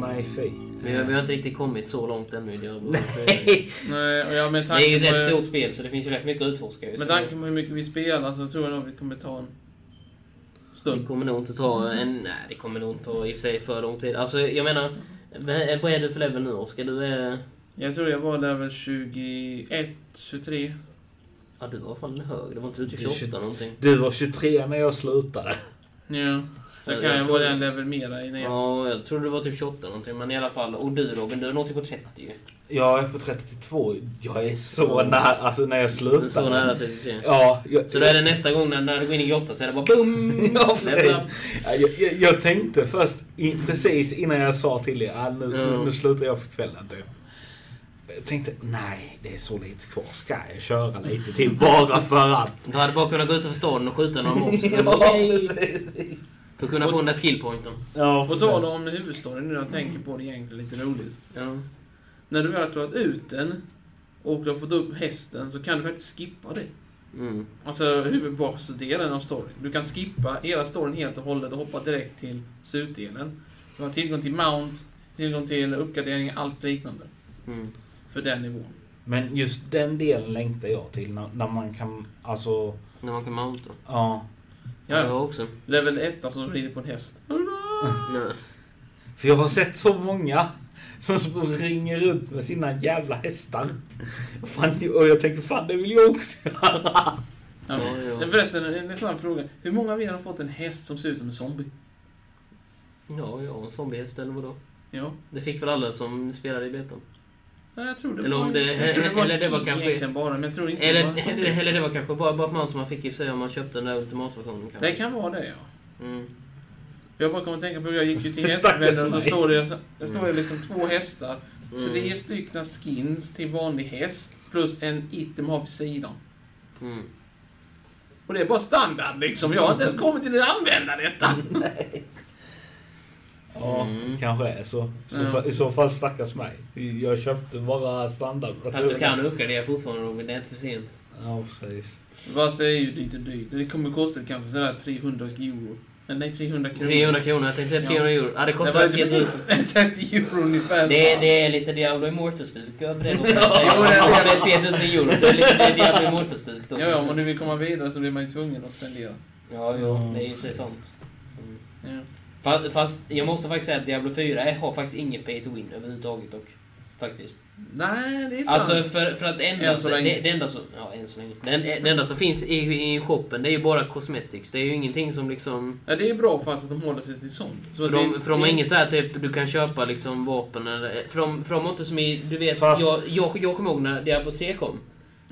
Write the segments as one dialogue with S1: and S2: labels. S1: nej fy.
S2: Vi, har- vi har inte riktigt kommit så långt ännu i Diablo.
S1: Nej.
S3: Nej, och ja, med
S2: Det är ju
S3: tanke
S2: ett
S3: på-
S2: rätt stort spel så det finns ju rätt mycket att utforska. ju. Så
S3: Med tanke på hur mycket vi spelar så tror jag nog vi kommer ta en
S2: Det
S3: stund.
S2: kommer nog inte ta en... Nej, det kommer nog inte ta i och för sig för lång tid. Alltså, jag menar... v- Vad är du för level nu, Oskar? Du är...
S3: Jag tror jag var där väl 21, 23.
S2: Ja, du var fan hög. Det var inte du typ
S1: Du är
S2: 28 någonting?
S1: Du var 23 när jag slutade.
S3: Ja. Så
S2: Ja,
S3: kan
S2: jag
S3: jag
S2: tror
S3: vara
S2: det.
S3: en level mera innan jag...
S2: Ja, jag tror du var typ 28 någonting. Men i alla fall. Och du Robin, du är nog typ på 30 ju.
S1: Jag är på 32. Jag är så nära. Alltså när jag
S2: Du är
S1: slutade.
S2: Så nära 33.
S1: Ja. Jag,
S2: Så då är det nästa gång när, när du går in i grottan så är det bara BOOM!
S1: Ja, precis.
S2: Level up.
S1: Ja, jag, jag, jag tänkte först, i, precis innan jag sa till er att nu,
S2: Ja.
S1: nu slutar jag för kvällen typ. Jag tänkte, nej det är så lite kvar. Ska jag köra lite till bara för att?
S2: Du hade bara kunnat gå ut över staden och skjuta några mobs.
S1: ja, precis.
S2: För att kunna få den där skillpointen.
S1: Ja,
S3: På tal om huvudstoryn nu, jag tänker på det egentligen lite roligt.
S2: Ja.
S3: När du väl har klarat ut den och du har fått upp hästen så kan du faktiskt skippa det.
S2: Mm.
S3: Alltså huvudbasdelen av storyn. Du kan skippa hela storyn helt och hållet och hoppa direkt till slutdelen. Du har tillgång till Mount, tillgång till uppgradering, allt liknande.
S2: Mm.
S3: För den nivån.
S1: Men just den delen längtar jag till. När, när man kan, alltså,
S2: När man kan mounta.
S1: ja.
S2: Ja,
S3: Ja, ja.
S2: jag också.
S3: Level 1 som rider på en häst.
S2: Ja.
S1: För jag har sett så många som springer runt med sina jävla hästar. Fan, och jag tänker, fan det vill jag också göra.
S3: Ja.
S2: Ja, ja.
S3: Eh, Förresten, en en snabb fråga. Hur många av er har fått en häst som ser ut som en zombie?
S2: Ja, ja, en zombiehäst eller vadå?
S3: Ja.
S2: Det fick väl alla som spelade i betan?
S3: Nej, jag tror det
S2: Eller
S3: var
S2: om det-
S3: jag tror det var
S2: eller
S3: en
S2: det var
S3: skin
S2: kanske-
S3: egentligen bara, men jag tror inte
S2: Eller,
S3: det var...
S2: eller, eller det var kanske bara Batman som man fick i och för sig om man köpte den där ultimatversionen kanske.
S3: Det kan vara det, ja.
S2: Mm.
S3: Jag bara kommer att tänka på, jag gick ju till
S1: Stackars
S3: hästvänner och så
S1: mig.
S3: står det, det står ju liksom två hästar.
S2: Mm.
S3: Tre stycken skins till vanlig häst plus en item har på sidan.
S2: Mm.
S3: Och det är bara standard liksom. Jag har inte ens kommit till att använda detta.
S1: Ja,
S2: Mm.
S1: kanske är så. så
S3: Ja.
S1: fa- I så fall stackars mig. Jag köpte bara standard.
S2: Fast du kan uppgradera fortfarande Robin, det är inte för sent.
S1: Ja, precis.
S3: Fast det är ju lite dyrt. Det kommer kosta kanske sådär 300 euro. Eller nej, 300 kronor.
S2: 300 kronor, jag tänkte säga 300 euro. Ja, det kostar
S3: Det var
S2: 10 000.
S3: typ 30 euro ungefär.
S2: Det är, det är lite Diablo Immortus-stuk över det. Robin.
S3: Ja,
S2: Säger man
S3: det är
S2: att
S3: det.
S2: Det är 3000 euro, det är lite Diablo Immortus-stuk då.
S3: Ja, ja, om man nu vill komma vidare så blir man ju tvungen att spendera.
S2: Ja, jo, det är ju så sant. Mm.
S3: Ja.
S2: Fa- Fast jag måste faktiskt säga att Diablo 4 har faktiskt inget pay to win överhuvudtaget dock. Faktiskt.
S3: Nej, det är sant.
S2: Alltså för, för att det enda,
S3: Än så
S2: så
S3: länge.
S2: det, det enda som... Ja, än så länge. Den, det enda som finns i, i shoppen, det är ju bara cosmetics. Det är ju ingenting som liksom...
S3: ja, det är bra för att de håller sig till sånt. Så
S2: För
S3: att
S2: de,
S3: det,
S2: för de har
S3: det-
S2: inget så här typ, du kan köpa liksom vapen eller... För de, för de har inte som i... Du vet,
S1: Fast-
S2: jag, jag, jag kommer ihåg när Diablo 3 kom.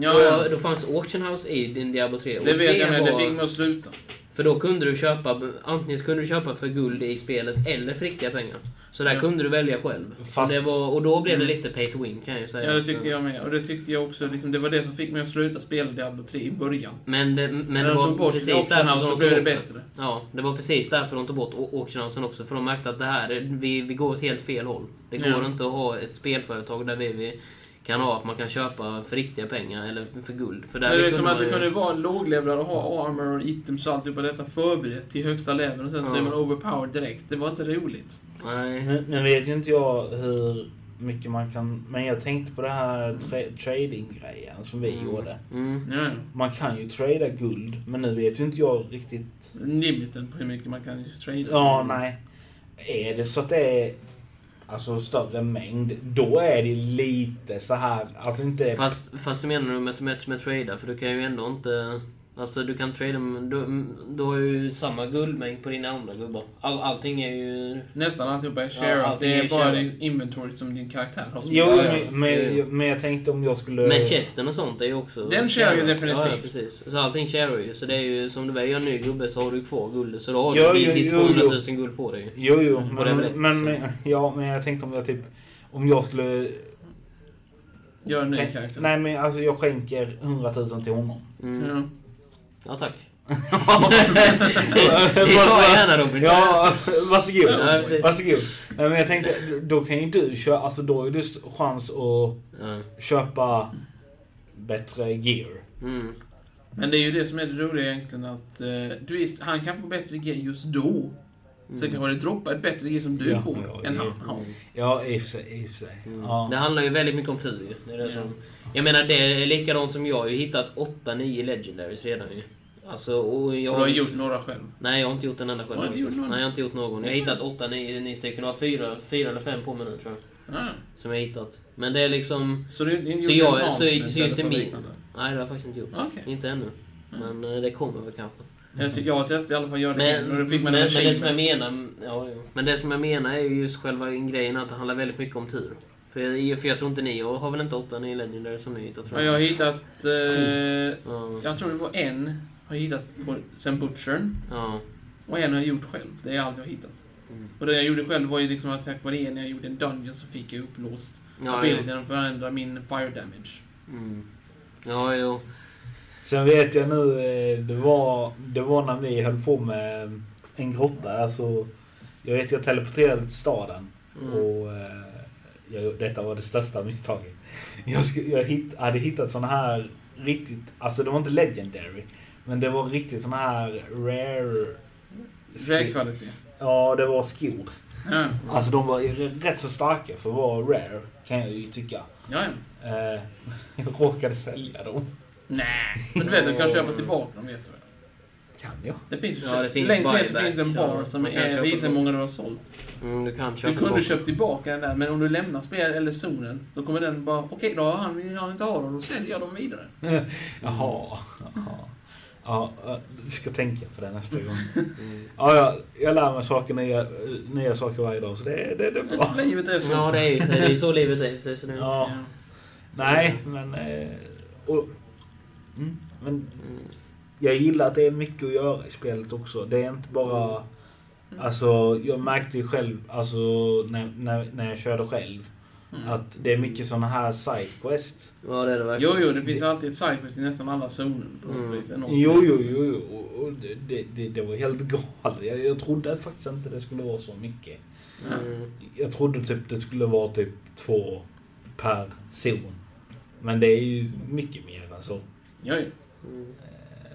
S3: Ja,
S2: då,
S3: ja.
S2: då fanns Auction House i din Diablo 3. och
S3: Det vet jag, men det
S2: var-
S3: fick mig att sluta.
S2: För då kunde du köpa... Antingen kunde du köpa för guld i spelet eller för riktiga pengar. Så där
S3: Ja. Mm.
S2: kunde du välja själv.
S1: Fast-
S2: Det var, och då blev det lite pay to win kan jag ju säga.
S3: Ja, det
S2: Så-
S3: tyckte jag med. Och det tyckte jag också. Liksom, det var det som fick mig att sluta spela Diablo 3 i början.
S2: Men det, men
S3: När
S2: det
S3: de tog
S2: var
S3: bort
S2: precis
S3: optionen
S2: därför som
S3: så
S2: de
S3: blev
S2: tog
S3: det
S2: bort den.
S3: bättre.
S2: Ja, det var precis därför de tog bort au- auctionhousen också. För de märkte att det här, är- vi, vi går åt helt fel håll. Det går
S3: Ja.
S2: inte att ha ett spelföretag där vi, vi kan ha att man kan köpa för riktiga pengar eller för guld. För där
S3: Men det är
S2: kunde
S3: som
S2: man
S3: att du
S2: ju-
S3: kunde vara en låglevlad och ha armor och items och alltihopa detta förberett till högsta level och sen så
S2: Ja.
S3: är man overpowered direkt. Det var inte roligt.
S2: Nej.
S1: Nu, nu vet ju inte jag hur mycket man kan... Men jag tänkte på det här tra- trading-grejen som vi gjorde.
S2: Mm.
S3: Ja, ja.
S1: Man kan ju trada guld, men nu vet ju inte jag riktigt...
S3: Limiten på hur mycket man kan trada.
S1: Ja, nej. Mm. Är det så att det är alltså, större mängd, då är det lite så här... Alltså inte...
S2: Fast, fast du menar du med, med, med trada? För du kan ju ändå inte... Alltså du kan trada... men Du, du har ju samma guldmängd på dina andra gubbar. All, allting är ju...
S3: Nästan alltihopa är
S2: Ja,
S3: share up.
S2: allting
S3: det
S2: är
S3: är bara
S2: share
S3: det inventory som din karaktär har. Som
S1: Jo,
S3: du-
S1: men, men, men jag tänkte om jag skulle...
S2: Men chesten och sånt är ju också...
S3: Den sharar ju
S2: Ja,
S3: definitivt.
S2: Ja, precis. Så allting sharar ju. Så det är ju som du väljer en ny gubbe så har du kvar guldet. Så då har
S1: Ja,
S2: du
S1: jo,
S2: jo, ditt
S1: jo, jo.
S2: 200 000 guld på dig.
S1: Jo, jo.
S2: På det
S1: Men,
S2: brett,
S1: men,
S2: så.
S1: men, ja, men jag tänkte om jag typ... Om jag skulle...
S3: Gör en ny
S1: tänk-
S3: karaktär.
S1: nej, men alltså jag skänker 100 000 till honom.
S2: Mm.
S3: Ja.
S2: Ja, tack. Det tar jag gärna Robin.
S1: Ja, varsågod.
S2: Ja, precis.
S1: varsågod. Nej, men jag tänkte, då kan ju du köpa... Alltså då har ju du chans att
S2: Ja.
S1: köpa bättre gear.
S2: Mm.
S3: Men det är ju det som är det roliga egentligen att eh, du visst, han kan få bättre grejer just då.
S2: Mm.
S3: Sen kanske det droppar ett bättre gear som du
S1: Ja,
S3: får
S1: ja,
S3: än
S1: ja.
S3: han har.
S1: Ja, i och för sig. i och för sig. Ja.
S2: Mm. Det handlar ju väldigt mycket om tur ju. Det är det
S3: Ja.
S2: som, jag menar, det är likadant som jag. Jag har ju hittat 8-9 legendaries redan ju. Alltså, och jag
S3: Och du har gjort några själv.
S2: Nej, jag har inte gjort en enda själv.
S3: Har du inte gjort någon?
S2: Nej, jag har inte gjort någon. Jag har hittat 8-9 stycken och har fyra, fyra eller fem på mig nu tror jag.
S3: Ah.
S2: Som jag har hittat. Men det är liksom...
S3: Så du har inte
S2: Så,
S3: gjort en
S2: jag,
S3: Hans
S2: så,
S3: nu
S2: så just det
S3: istället för
S2: min...
S3: liknande?
S2: Nej, det har jag faktiskt inte gjort.
S3: Okej.
S2: Inte ännu. Men eh, det kommer väl kanske.
S3: Jag, tycker jag testade i alla fall att göra Mm. det.
S2: Men,
S3: Men, och då
S2: men,
S3: fick man
S2: men,
S3: en
S2: det som jag
S3: achievement.
S2: menar, ja, jo. men det som jag menar är ju just själva grejen att det handlar väldigt mycket om tur. För jag, för jag tror inte ni jag har väl inte åtta ni legendaries som ni hittat tror
S3: Men jag har hittat... Eh,
S2: Ja,
S3: jag tror det var en har jag hittat på, sen Butchern.
S2: ja,
S3: Och en har jag gjort själv. Det är allt jag har hittat.
S2: Mm.
S3: Och det jag gjorde själv var ju liksom att tack vare er när jag gjorde en dungeon så fick jag upplåst
S2: ja, ja,
S3: abilityn att förändra min fire damage.
S2: mm. ja, jo.
S1: Sen vet jag nu, eh, det var, det var när vi höll på med eh, en grotta. Alltså, jag vet jag teleporterade till staden.
S2: Mm.
S1: Och eh, jag, detta var det största misstaget. Jag, sku- jag hitt, hade hittat såna här riktigt, alltså det var inte legendary. Men det var riktigt såna här rare...
S3: Rare quality.
S1: Ja, det var skor.
S3: Ja,
S1: Alltså de var ju rätt så starka för att vara rare, kan jag ju tycka.
S3: ja. ja.
S1: Eh, jag råkade sälja dem.
S3: Nej. Men du vet, du kan köpa tillbaka dem vet du väl?
S1: Kan jag?
S3: Det finns ju
S2: Ja, det finns
S3: Längst ner så
S2: buyback,
S3: finns det en bar
S2: ja.
S3: som
S2: Man kan
S3: är,
S2: köpa
S3: visar hur
S2: bort.
S3: många du har sålt.
S2: Mm, du kan
S3: Du
S2: köpa
S3: kunde
S2: bort.
S3: köpt tillbaka den där, men om du lämnar spelet eller zonen, då kommer den bara okej då har han, han inte har dem, då säljer jag dem vidare.
S1: Jaha. Jaha. Ja, jag ska tänka på det nästa gång.
S2: Mm.
S1: Ja, jag, jag lär mig saker, nya, nya saker varje dag, så det, det, det är bra.
S3: Livet är så.
S2: Ja, det är ju så, det är ju så livet är. Så, så det,
S1: Ja, nej, men... eh, Och, mm, men
S2: Mm.
S1: jag gillar att det är mycket att göra i spelet också. Det är inte bara... Alltså, jag märkte ju själv, alltså, när, när, när jag körde själv,
S3: Mm.
S1: att det är mycket såna här sidequests.
S2: ja, det är det verkligen.
S3: Jo, jo, det finns alltid ett sidequest i nästan alla zoner på något
S2: Mm.
S3: vis. Enormt.
S1: Jo, jo, jo, jo. Och- Och det, det- det, det var helt galet. Jag, jag trodde faktiskt inte det skulle vara så mycket.
S2: Mm.
S1: Jag trodde typ det skulle vara typ två per zon. Men det är ju mycket mer alltså.
S3: Jo, jo.
S2: Mm.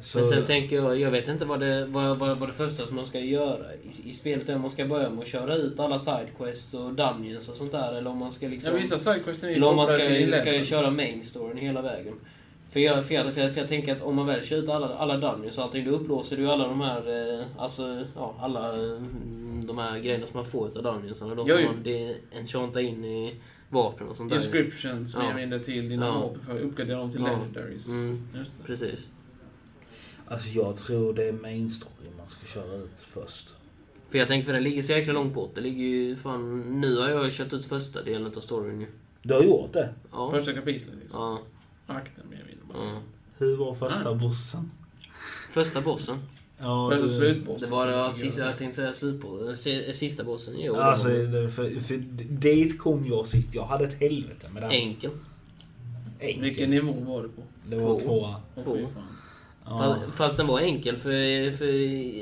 S1: Så,
S2: Men sen tänker jag, jag vet inte vad det, vad, vad, vad det första som man ska göra i, i spelet är. Om man ska börja med att köra ut alla sidequests och dungeons och sånt där. Eller om man ska
S3: Ja,
S2: liksom...
S3: vissa sidequests är ju
S2: eller om man
S3: kopplade
S2: ska,
S3: till din
S2: ska
S3: level.
S2: köra main storyn hela vägen. För jag, för, jag, för, jag, för jag tänker att om man väl kör ut alla, alla dungeons och allting, då upplåser du ju alla de här... Eh, alltså, ja, alla eh, de här grejerna som man får utav dungeons. Eller de
S3: Jo,
S2: som
S3: jo.
S2: man de- enchantar in i vapen och sånt där.
S3: Inscriptions mer
S2: Ja.
S3: eller mindre till dina
S2: Ja.
S3: vapen för att uppgradera dem till
S2: Ja.
S3: legendaries.
S2: Mm,
S3: Just det.
S2: precis.
S1: Alltså jag tror det är main story man ska köra ut först.
S2: För jag tänker, för den ligger så jäkla långt bort. Det ligger ju fan... Nu har jag kört ut första delen av storyn ju.
S1: Du har gjort det?
S2: Ja.
S3: Första kapitlet, liksom.
S2: ja.
S3: Akten mer eller mindre. bara
S2: Ja.
S3: så.
S1: Hur var första
S2: Ah.
S1: bossen?
S2: Första bossen.
S1: Ja,
S3: Första
S1: du-
S3: slutbossen.
S2: Det var det
S3: som fick
S2: sista,
S3: göra
S2: jag tänkte säga slutbo- si- sista bossen. Jo, det
S1: Alltså,
S2: var
S1: det- för, för dit kom jag sist. Jag hade ett helvete med den.
S2: enkel.
S3: det.
S1: Enkel.
S3: Vilken nivå var det på?
S1: Det var
S2: Två.
S1: tvåa.
S3: Åh,
S2: Två.
S3: fy fan.
S1: Ja.
S2: Fast, fast den var enkel för, för,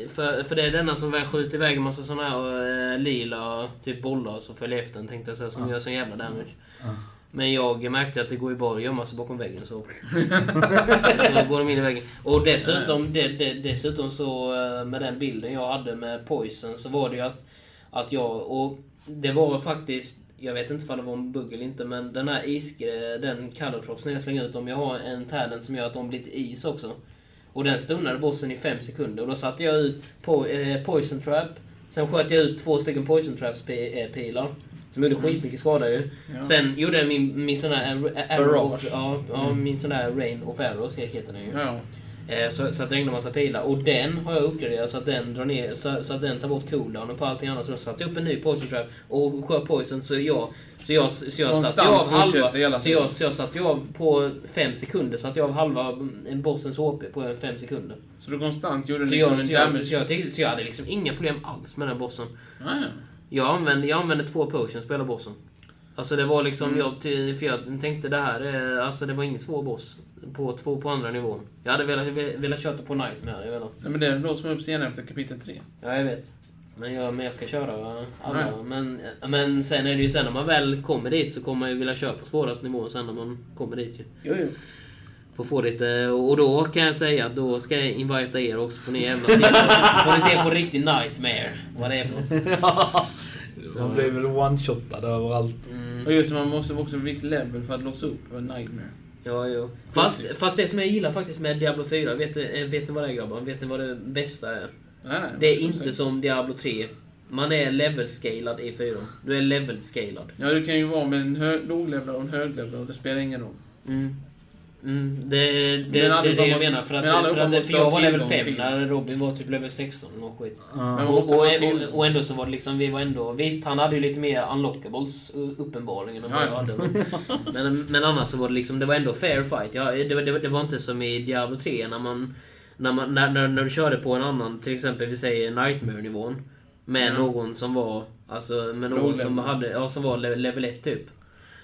S2: för, för det är denna som väl skjuter iväg en massa såna här eh, lila typ bollar som följer efter en tänkte jag säga som gör sån jävla damage.
S1: Ja.
S2: Men jag märkte att det går ju bara att gömma sig bakom väggen så... så går de in i väggen. Och dessutom, de, de, dessutom så eh, med den bilden jag hade med Poison så var det ju att, att jag... Och det var faktiskt... Jag vet inte om det var en bugg eller inte men den här isgre, den colortrops när jag slänger ut dem, jag har en talent som gör att de blir till is också. Och den stunnade bossen i fem sekunder och då satte jag ut po- eh, Poison Trap. Sen sköt jag ut två stycken Poison Traps pi- eh, pilar. Som gjorde skitmycket skada ju.
S3: Ja.
S2: Sen gjorde jag min, min sån där... arr- eh, Arrow of,
S3: Barrage. Mm.
S2: ja, ja, min sån där Rain of Arrows heter den ju.
S3: Ja,
S2: Eh, Så, så att det regnar massa pilar. Och den har jag uppgraderat så att den drar ner, så, så att den tar bort cooldownen på allting annat. Så jag satte upp en ny poison trap och sköt poison så jag... Så jag, så jag satte
S3: Konstant
S2: ju av halva...
S3: fortsätter hela
S2: Så jag, så jag satte ju av på fem sekunder. Satte jag av halva mm, bossens HP på fem sekunder.
S3: Så du konstant gjorde
S2: Så
S3: liksom
S2: jag,
S3: en
S2: så, jag,
S3: damage...
S2: så, jag, tyckte- så jag hade liksom inga problem alls med den bossen.
S3: Ja, ja.
S2: Jag använde, jag använde två potions på hela bossen. Alltså det var liksom, jag, ty- för jag tänkte det här är, alltså det var ingen svår boss. På två på andra nivån. Jag hade velat, velat köra på nightmare, jag vet inte.
S3: Nej, men det låser man upp senare efter kapitel 3.
S2: Ja, jag vet. Men jag, men jag ska köra alla.
S3: Nej.
S2: Men, men sen är det ju sen när man väl kommer dit så kommer man ju vilja köra på svåraste nivån sen när man kommer dit ju.
S3: Jo, jo.
S2: Får få lite, och då kan jag säga att då ska jag invita er också. Får ni jävla se på, får ni se på riktig nightmare. Vad det är för något.
S1: Man blir väl one-shotad överallt.
S2: Mm.
S3: Och just det, man måste vara också en viss level för att låsa upp en nightmare.
S2: Ja, jo. Fast, fast det som jag gillar faktiskt med Diablo 4, vet, eh, vet ni vad det är grabbar? Vet ni vad det bästa är?
S3: Nej, nej,
S2: Det är
S3: vad ska
S2: inte
S3: man säga?
S2: som Diablo 3. Man är level-scalad i 4. Du är level-scalad.
S3: Ja, du kan ju vara med en hö- låglevlad och en höglevlad och det spelar ingen roll.
S2: Mm. Mm, det det, det är
S3: allihopa
S2: det jag
S3: måste-
S2: menar. För, att,
S3: men allihopa
S2: för, att,
S3: måste
S2: för jag
S3: ha
S2: var level
S3: tillgång
S2: 5
S3: till-
S2: när Robin var typ level 16 eller något skit.
S1: Ja.
S3: Men man
S2: Och,
S3: måste
S2: och,
S3: ha till-
S2: och, och ändå så var det liksom, vi var ändå... Visst, han hade ju lite mer unlockables u- uppenbarligen än vad
S3: Ja,
S2: jag
S3: ja.
S2: hade. Men- Men, men annars så var det liksom, det var ändå fair fight. Ja, det, var- det, var- det var inte som i Diablo 3 när man... När, man, när, när, när du körde på en annan, till exempel vi säger Nightmare-nivån. Med
S3: Mm.
S2: någon som var... Alltså med någon
S3: Låg
S2: som,
S3: level.
S2: hade, ja, som var le- level 1 typ.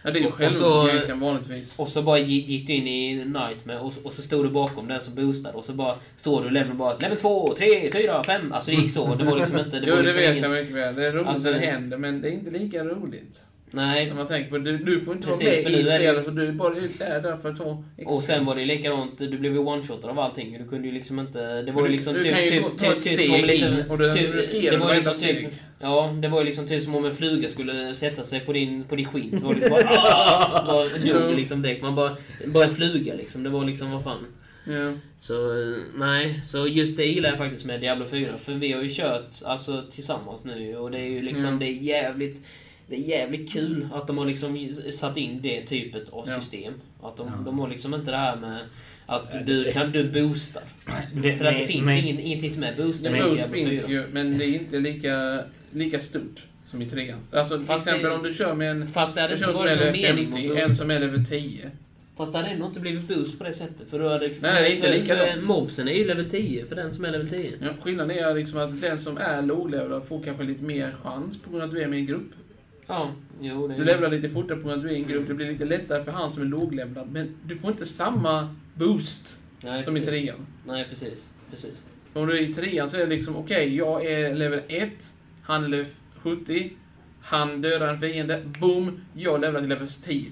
S3: Ja, det är ju
S2: Och- och så-
S3: självmord egentligen vanligtvis.
S2: Och så bara gi- gick du in i Nightmare och, och så stod du bakom den som boostade och så bara står du och lämnar bara level 2, 3, 4, 5. Alltså det gick så. Det var liksom inte...
S3: jo,
S2: var
S3: det
S2: liksom
S3: vet
S2: ingen-
S3: jag mycket väl. Det är roligt
S2: Alltså-
S3: när det händer, men det är inte lika roligt.
S2: Nej,
S3: När man tänker på det. Du, du får inte
S2: Precis, för
S3: vara med
S2: nu
S3: i
S2: är det ju-
S3: spelet, för du är bara ut där, där för att ta... extra.
S2: Och sen var det ju likadant, du blev ju one-shotad av allting. Du kunde ju liksom inte... Det var ju
S3: Du-
S2: liksom
S3: du kan ju ta- ta ett
S2: som om
S3: steg
S2: lite- typ-
S3: in och du riskerar
S2: det var ju
S3: varenda
S2: liksom typ-
S3: steg.
S2: Ja, det var ju liksom typ som om en fluga skulle sätta sig på din, på din skinn. Så var det liksom bara... "Ah!" bara dog
S3: Ja.
S2: det liksom direkt. Man bara... Bara en fluga liksom. Det var liksom, vad fan.
S3: Ja.
S2: Så eh, nej, så just det gillar jag faktiskt med Diablo 4. För vi har ju kört alltså, tillsammans nu och det är ju liksom,
S3: Mm.
S2: det är jävligt... Det är jävligt kul att de har liksom satt in det typet av
S3: Ja.
S2: system. Att de,
S1: Ja.
S2: de har liksom inte det här med
S1: Nej,
S2: att
S1: det-
S2: du kan du boosta.
S1: Det-
S2: För att det
S1: men-
S2: finns
S1: men-
S2: ingen, ingenting som är boostar i
S3: Men Rose
S2: Diablo
S3: finns
S2: 4.
S3: ju, men det är inte lika, lika stort som i trean. Alltså till
S2: Fast
S3: exempel
S2: det-
S3: om du kör med en...
S2: Fast det hade
S3: Du
S2: inte
S3: kör som är
S2: varit någon
S3: level
S2: mening med
S3: 50,
S2: att
S3: en
S2: boosta.
S3: som är level 10.
S2: Fast det hade ändå inte blivit boost på det sättet. För då hade...
S3: det är inte
S2: för,
S3: likadant.
S2: för mobsen är ju level 10 för den som är level 10.
S3: Ja, skillnaden är liksom att den som är låglevlad får kanske lite mer chans på grund av att du är med i en grupp.
S2: Ja, jo det är
S3: Du levlar lite fortare på grund av att du är i en grupp. Det blir lite lättare för han som är låglevlad. Men du får inte samma boost
S2: Nej,
S3: som i
S2: precis.
S3: trean.
S2: Nej, precis. Precis.
S3: För om du är i trean så är det liksom, okej, jag är level 1, han är level 70, han dödar en fiende, boom, jag levlar till level 10.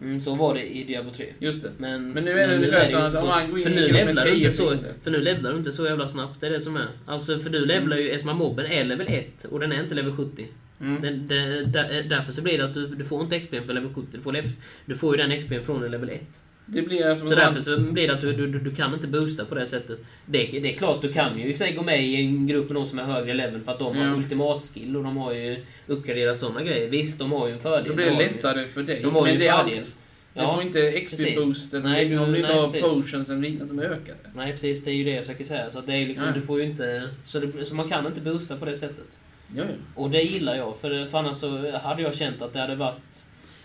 S2: Mm, så var det i Diablo 3.
S3: Just det.
S2: Men,
S3: Men nu är det ungefär
S2: ju
S3: så
S2: inte
S3: att om man går in
S2: för
S3: i
S2: nu
S3: grupp med
S2: levlar du
S3: tio
S2: inte så
S3: fiender.
S2: För nu levlar du inte så jävla snabbt, det är det som är. Alltså, för du levlar ju, eftersom mobben är level 1 och den är inte level 70.
S3: Mm.
S2: Den, den, där, därför så blir det att du, du får inte XP n för level 70, du får, lev, du får ju den XP n från en level 1.
S3: Det blir som
S2: Så därför så blir det att du, du, du, du kan inte boosta på det sättet. Det, det är klart, du kan ju i och för sig gå med i en grupp med någon som är högre level för att de har
S3: Ja.
S2: ultimatskill och de har ju uppgraderat sådana grejer. Visst, de har ju en fördel.
S3: Då blir det
S2: har ju-
S3: lättare för dig.
S2: De har ju
S3: men det är
S2: fördel.
S3: allt. Du
S2: Ja.
S3: får inte xp
S2: precis.
S3: boosten
S2: Nej,
S3: om
S2: du-
S3: du inte
S2: nej,
S3: har
S2: precis.
S3: potions eller liknande som ökar. det.
S2: Nej precis, det är ju det jag försöker säga. Så att det är liksom,
S3: Nej.
S2: du får ju inte... Så, det, så man kan inte boosta på det sättet.
S3: Ja, ja.
S2: Och det gillar jag, för, för annars så hade jag känt att det hade varit...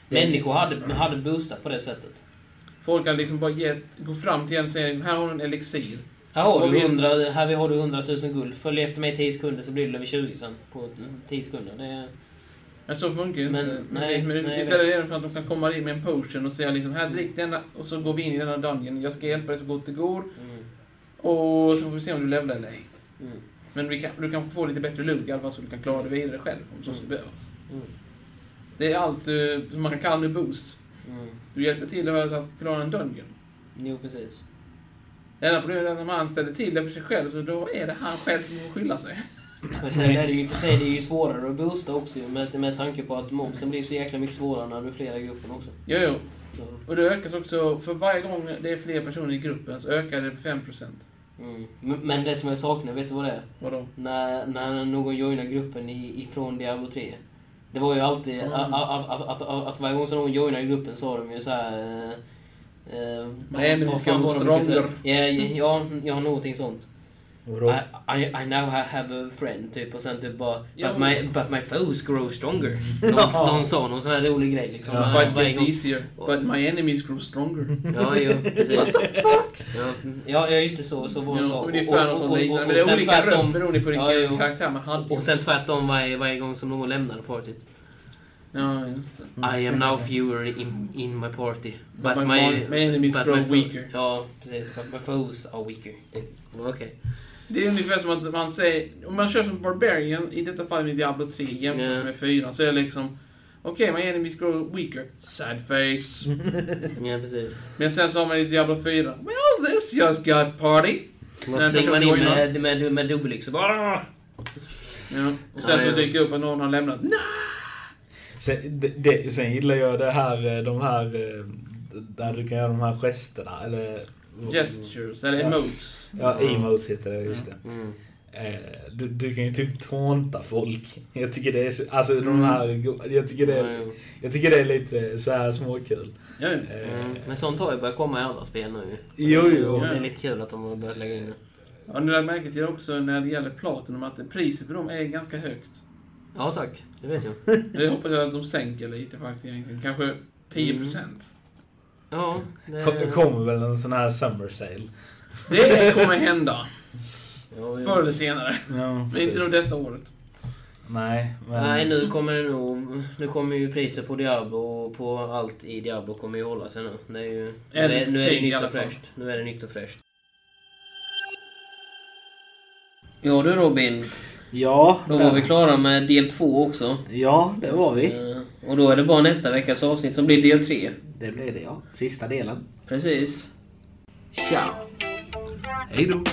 S1: Det-
S2: Människor hade, hade boostat på det sättet.
S3: Folk kan liksom bara ge, gå fram till en och säga här har du en elixir.
S2: Här har
S3: Och vi-
S2: du 100, här har du 100 000 guld. Följ efter mig 10 sekunder så blir du level 20 sen. På 10 sekunder. Det,
S3: Men så funkar ju
S2: Men-
S3: inte.
S2: nej,
S3: men
S2: nej, jag
S3: istället
S2: vet.
S3: är det för att de kan komma in med en potion och säga liksom här drick denna och så går vi in i denna dungeon. Jag ska hjälpa dig så gott det går
S2: mm,
S3: och så får vi se om du levlar eller ej.
S2: mm,
S3: Men vi kan, du kanske får lite bättre loot i alla fall så du kan klara dig vidare själv om så skulle behövas.
S2: mm,
S3: Det är allt du, man kan nu boost.
S2: mm.
S3: Du hjälper till över att han ska klara en dungeon.
S2: Jo precis.
S3: Det enda problemet är att om han ställer till det för sig själv så då är det han själv som får skylla sig.
S2: Men sen är det ju i och för sig det är ju svårare att boosta också ju, med, med tanke på att mobsen blir så jäkla mycket svårare när du är flera i gruppen också.
S3: Jo, jo.
S2: Så,
S3: Och det ökas också, för varje gång det är fler personer i gruppen så ökar det på 5%.
S2: mm. men, men det som jag saknar, vet du vad det är?
S3: Vadå?
S2: när, när någon joinar gruppen i, ifrån Diablo 3. Det var ju alltid
S3: Mm.
S2: a- a- a- att, att, att, att varje gång som någon joinade gruppen sa de ju så här. eh, Eh,
S3: My enemy
S2: vad
S3: is
S2: fan
S3: getting
S2: var de brukar
S3: stronger.
S2: säga? Ja, ja, ja, ja, någonting sånt.
S1: Vadå?
S2: I, I, I now have a friend, typ. Och sen typ bara...
S3: Ja.
S2: But my, but my foes grow stronger. Någon, någon sa någon sån här rolig grej liksom.
S1: Ja.
S2: Eh,
S3: Fight
S2: varje
S3: gets
S2: gång.
S3: easier, but my enemies grow stronger.
S2: Ja, jo, precis. ja, ja, just det. Så, så var det
S3: Ja,
S2: så.
S3: ungefär något sånt liknande. Men det är
S2: sen
S3: olika
S2: tvärtom-
S3: röst beroende på
S2: Ja,
S3: vilken
S2: jo.
S3: karaktär man hade.
S2: Och sen tvärtom varje, varje gång som någon lämnade partyt.
S3: Ja, just det.
S1: Mm.
S2: I am now fewer in, in my party. But
S3: My-
S2: my,
S3: my enemies
S2: but
S3: grow
S2: my fo-
S3: weaker.
S2: Ja, precis. But my foes are weaker. Okej.
S3: Det är ungefär som att man säger, om man kör som Barbarian, i detta fallet med Diablo 3 jämfört
S2: Ja.
S3: med 4, så är det liksom Okej, Okej, my enemies grow weaker. Sad face.
S2: Ja, precis.
S3: Men sen så har man i Diablo 4. Well, this just got party.
S2: Man
S3: Nej,
S2: springer man
S3: det var
S2: in
S3: ju
S2: med, med, liksom. med dubbelyxor bara...
S3: Ah!
S2: "Arr!"
S3: Ja. Och sen
S2: Ja,
S3: så
S2: ja.
S3: dyker det upp att någon har lämnat. Nej!
S1: Sen, det, det, sen gillar jag det här, eh, de här... eh, Där du kan göra de här gesterna, eller...
S3: Gestures, eller
S1: Ja.
S3: emotes.
S1: Ja, emotes heter det, just det.
S2: Mm.
S1: Eh, Du, du kan ju typ tånta folk. Jag tycker det är så, alltså de här, jag tycker det är,
S2: Mm.
S1: jag tycker det är lite så här småkul.
S3: Ja, ja.
S1: Eh,
S2: Mm. Men sånt har ju börjat komma i andra spel nu
S1: Jo, jo.
S2: Och Det är lite kul att de har börjat lägga in det.
S3: Har ni lagt märke till också när det gäller Platinum att priset på dem är ganska högt?
S2: Ja tack, det vet jag.
S3: Det hoppas jag att de sänker lite faktiskt egentligen. Kanske 10%.
S2: Ja, det...
S1: Kom- Kommer väl en sån här summer sale.
S3: Det kommer hända.
S2: Ja,
S3: Förr
S2: ja.
S3: eller senare.
S1: Ja,
S3: Men inte nog
S1: precis.
S3: detta året.
S1: Nej, men...
S2: Nej, nu kommer det nog... Nu kommer ju priser på Diablo och på allt i Diablo kommer ju hålla sig nu. Det är ju... Nu
S3: En
S2: är, nu är
S3: sing
S2: det
S3: i
S2: nytt
S3: alla
S2: och
S3: fall.
S2: fräscht. Nu är det nytt och fräscht. Ja du Robin,
S1: Ja,
S2: då var vi klara med del två också.
S1: Ja, det var vi.
S2: Eh, Och då är det bara nästa veckas avsnitt som blir del tre.
S1: Det blev det ja. Sista delen.
S2: Precis.
S1: Ciao! Hej då!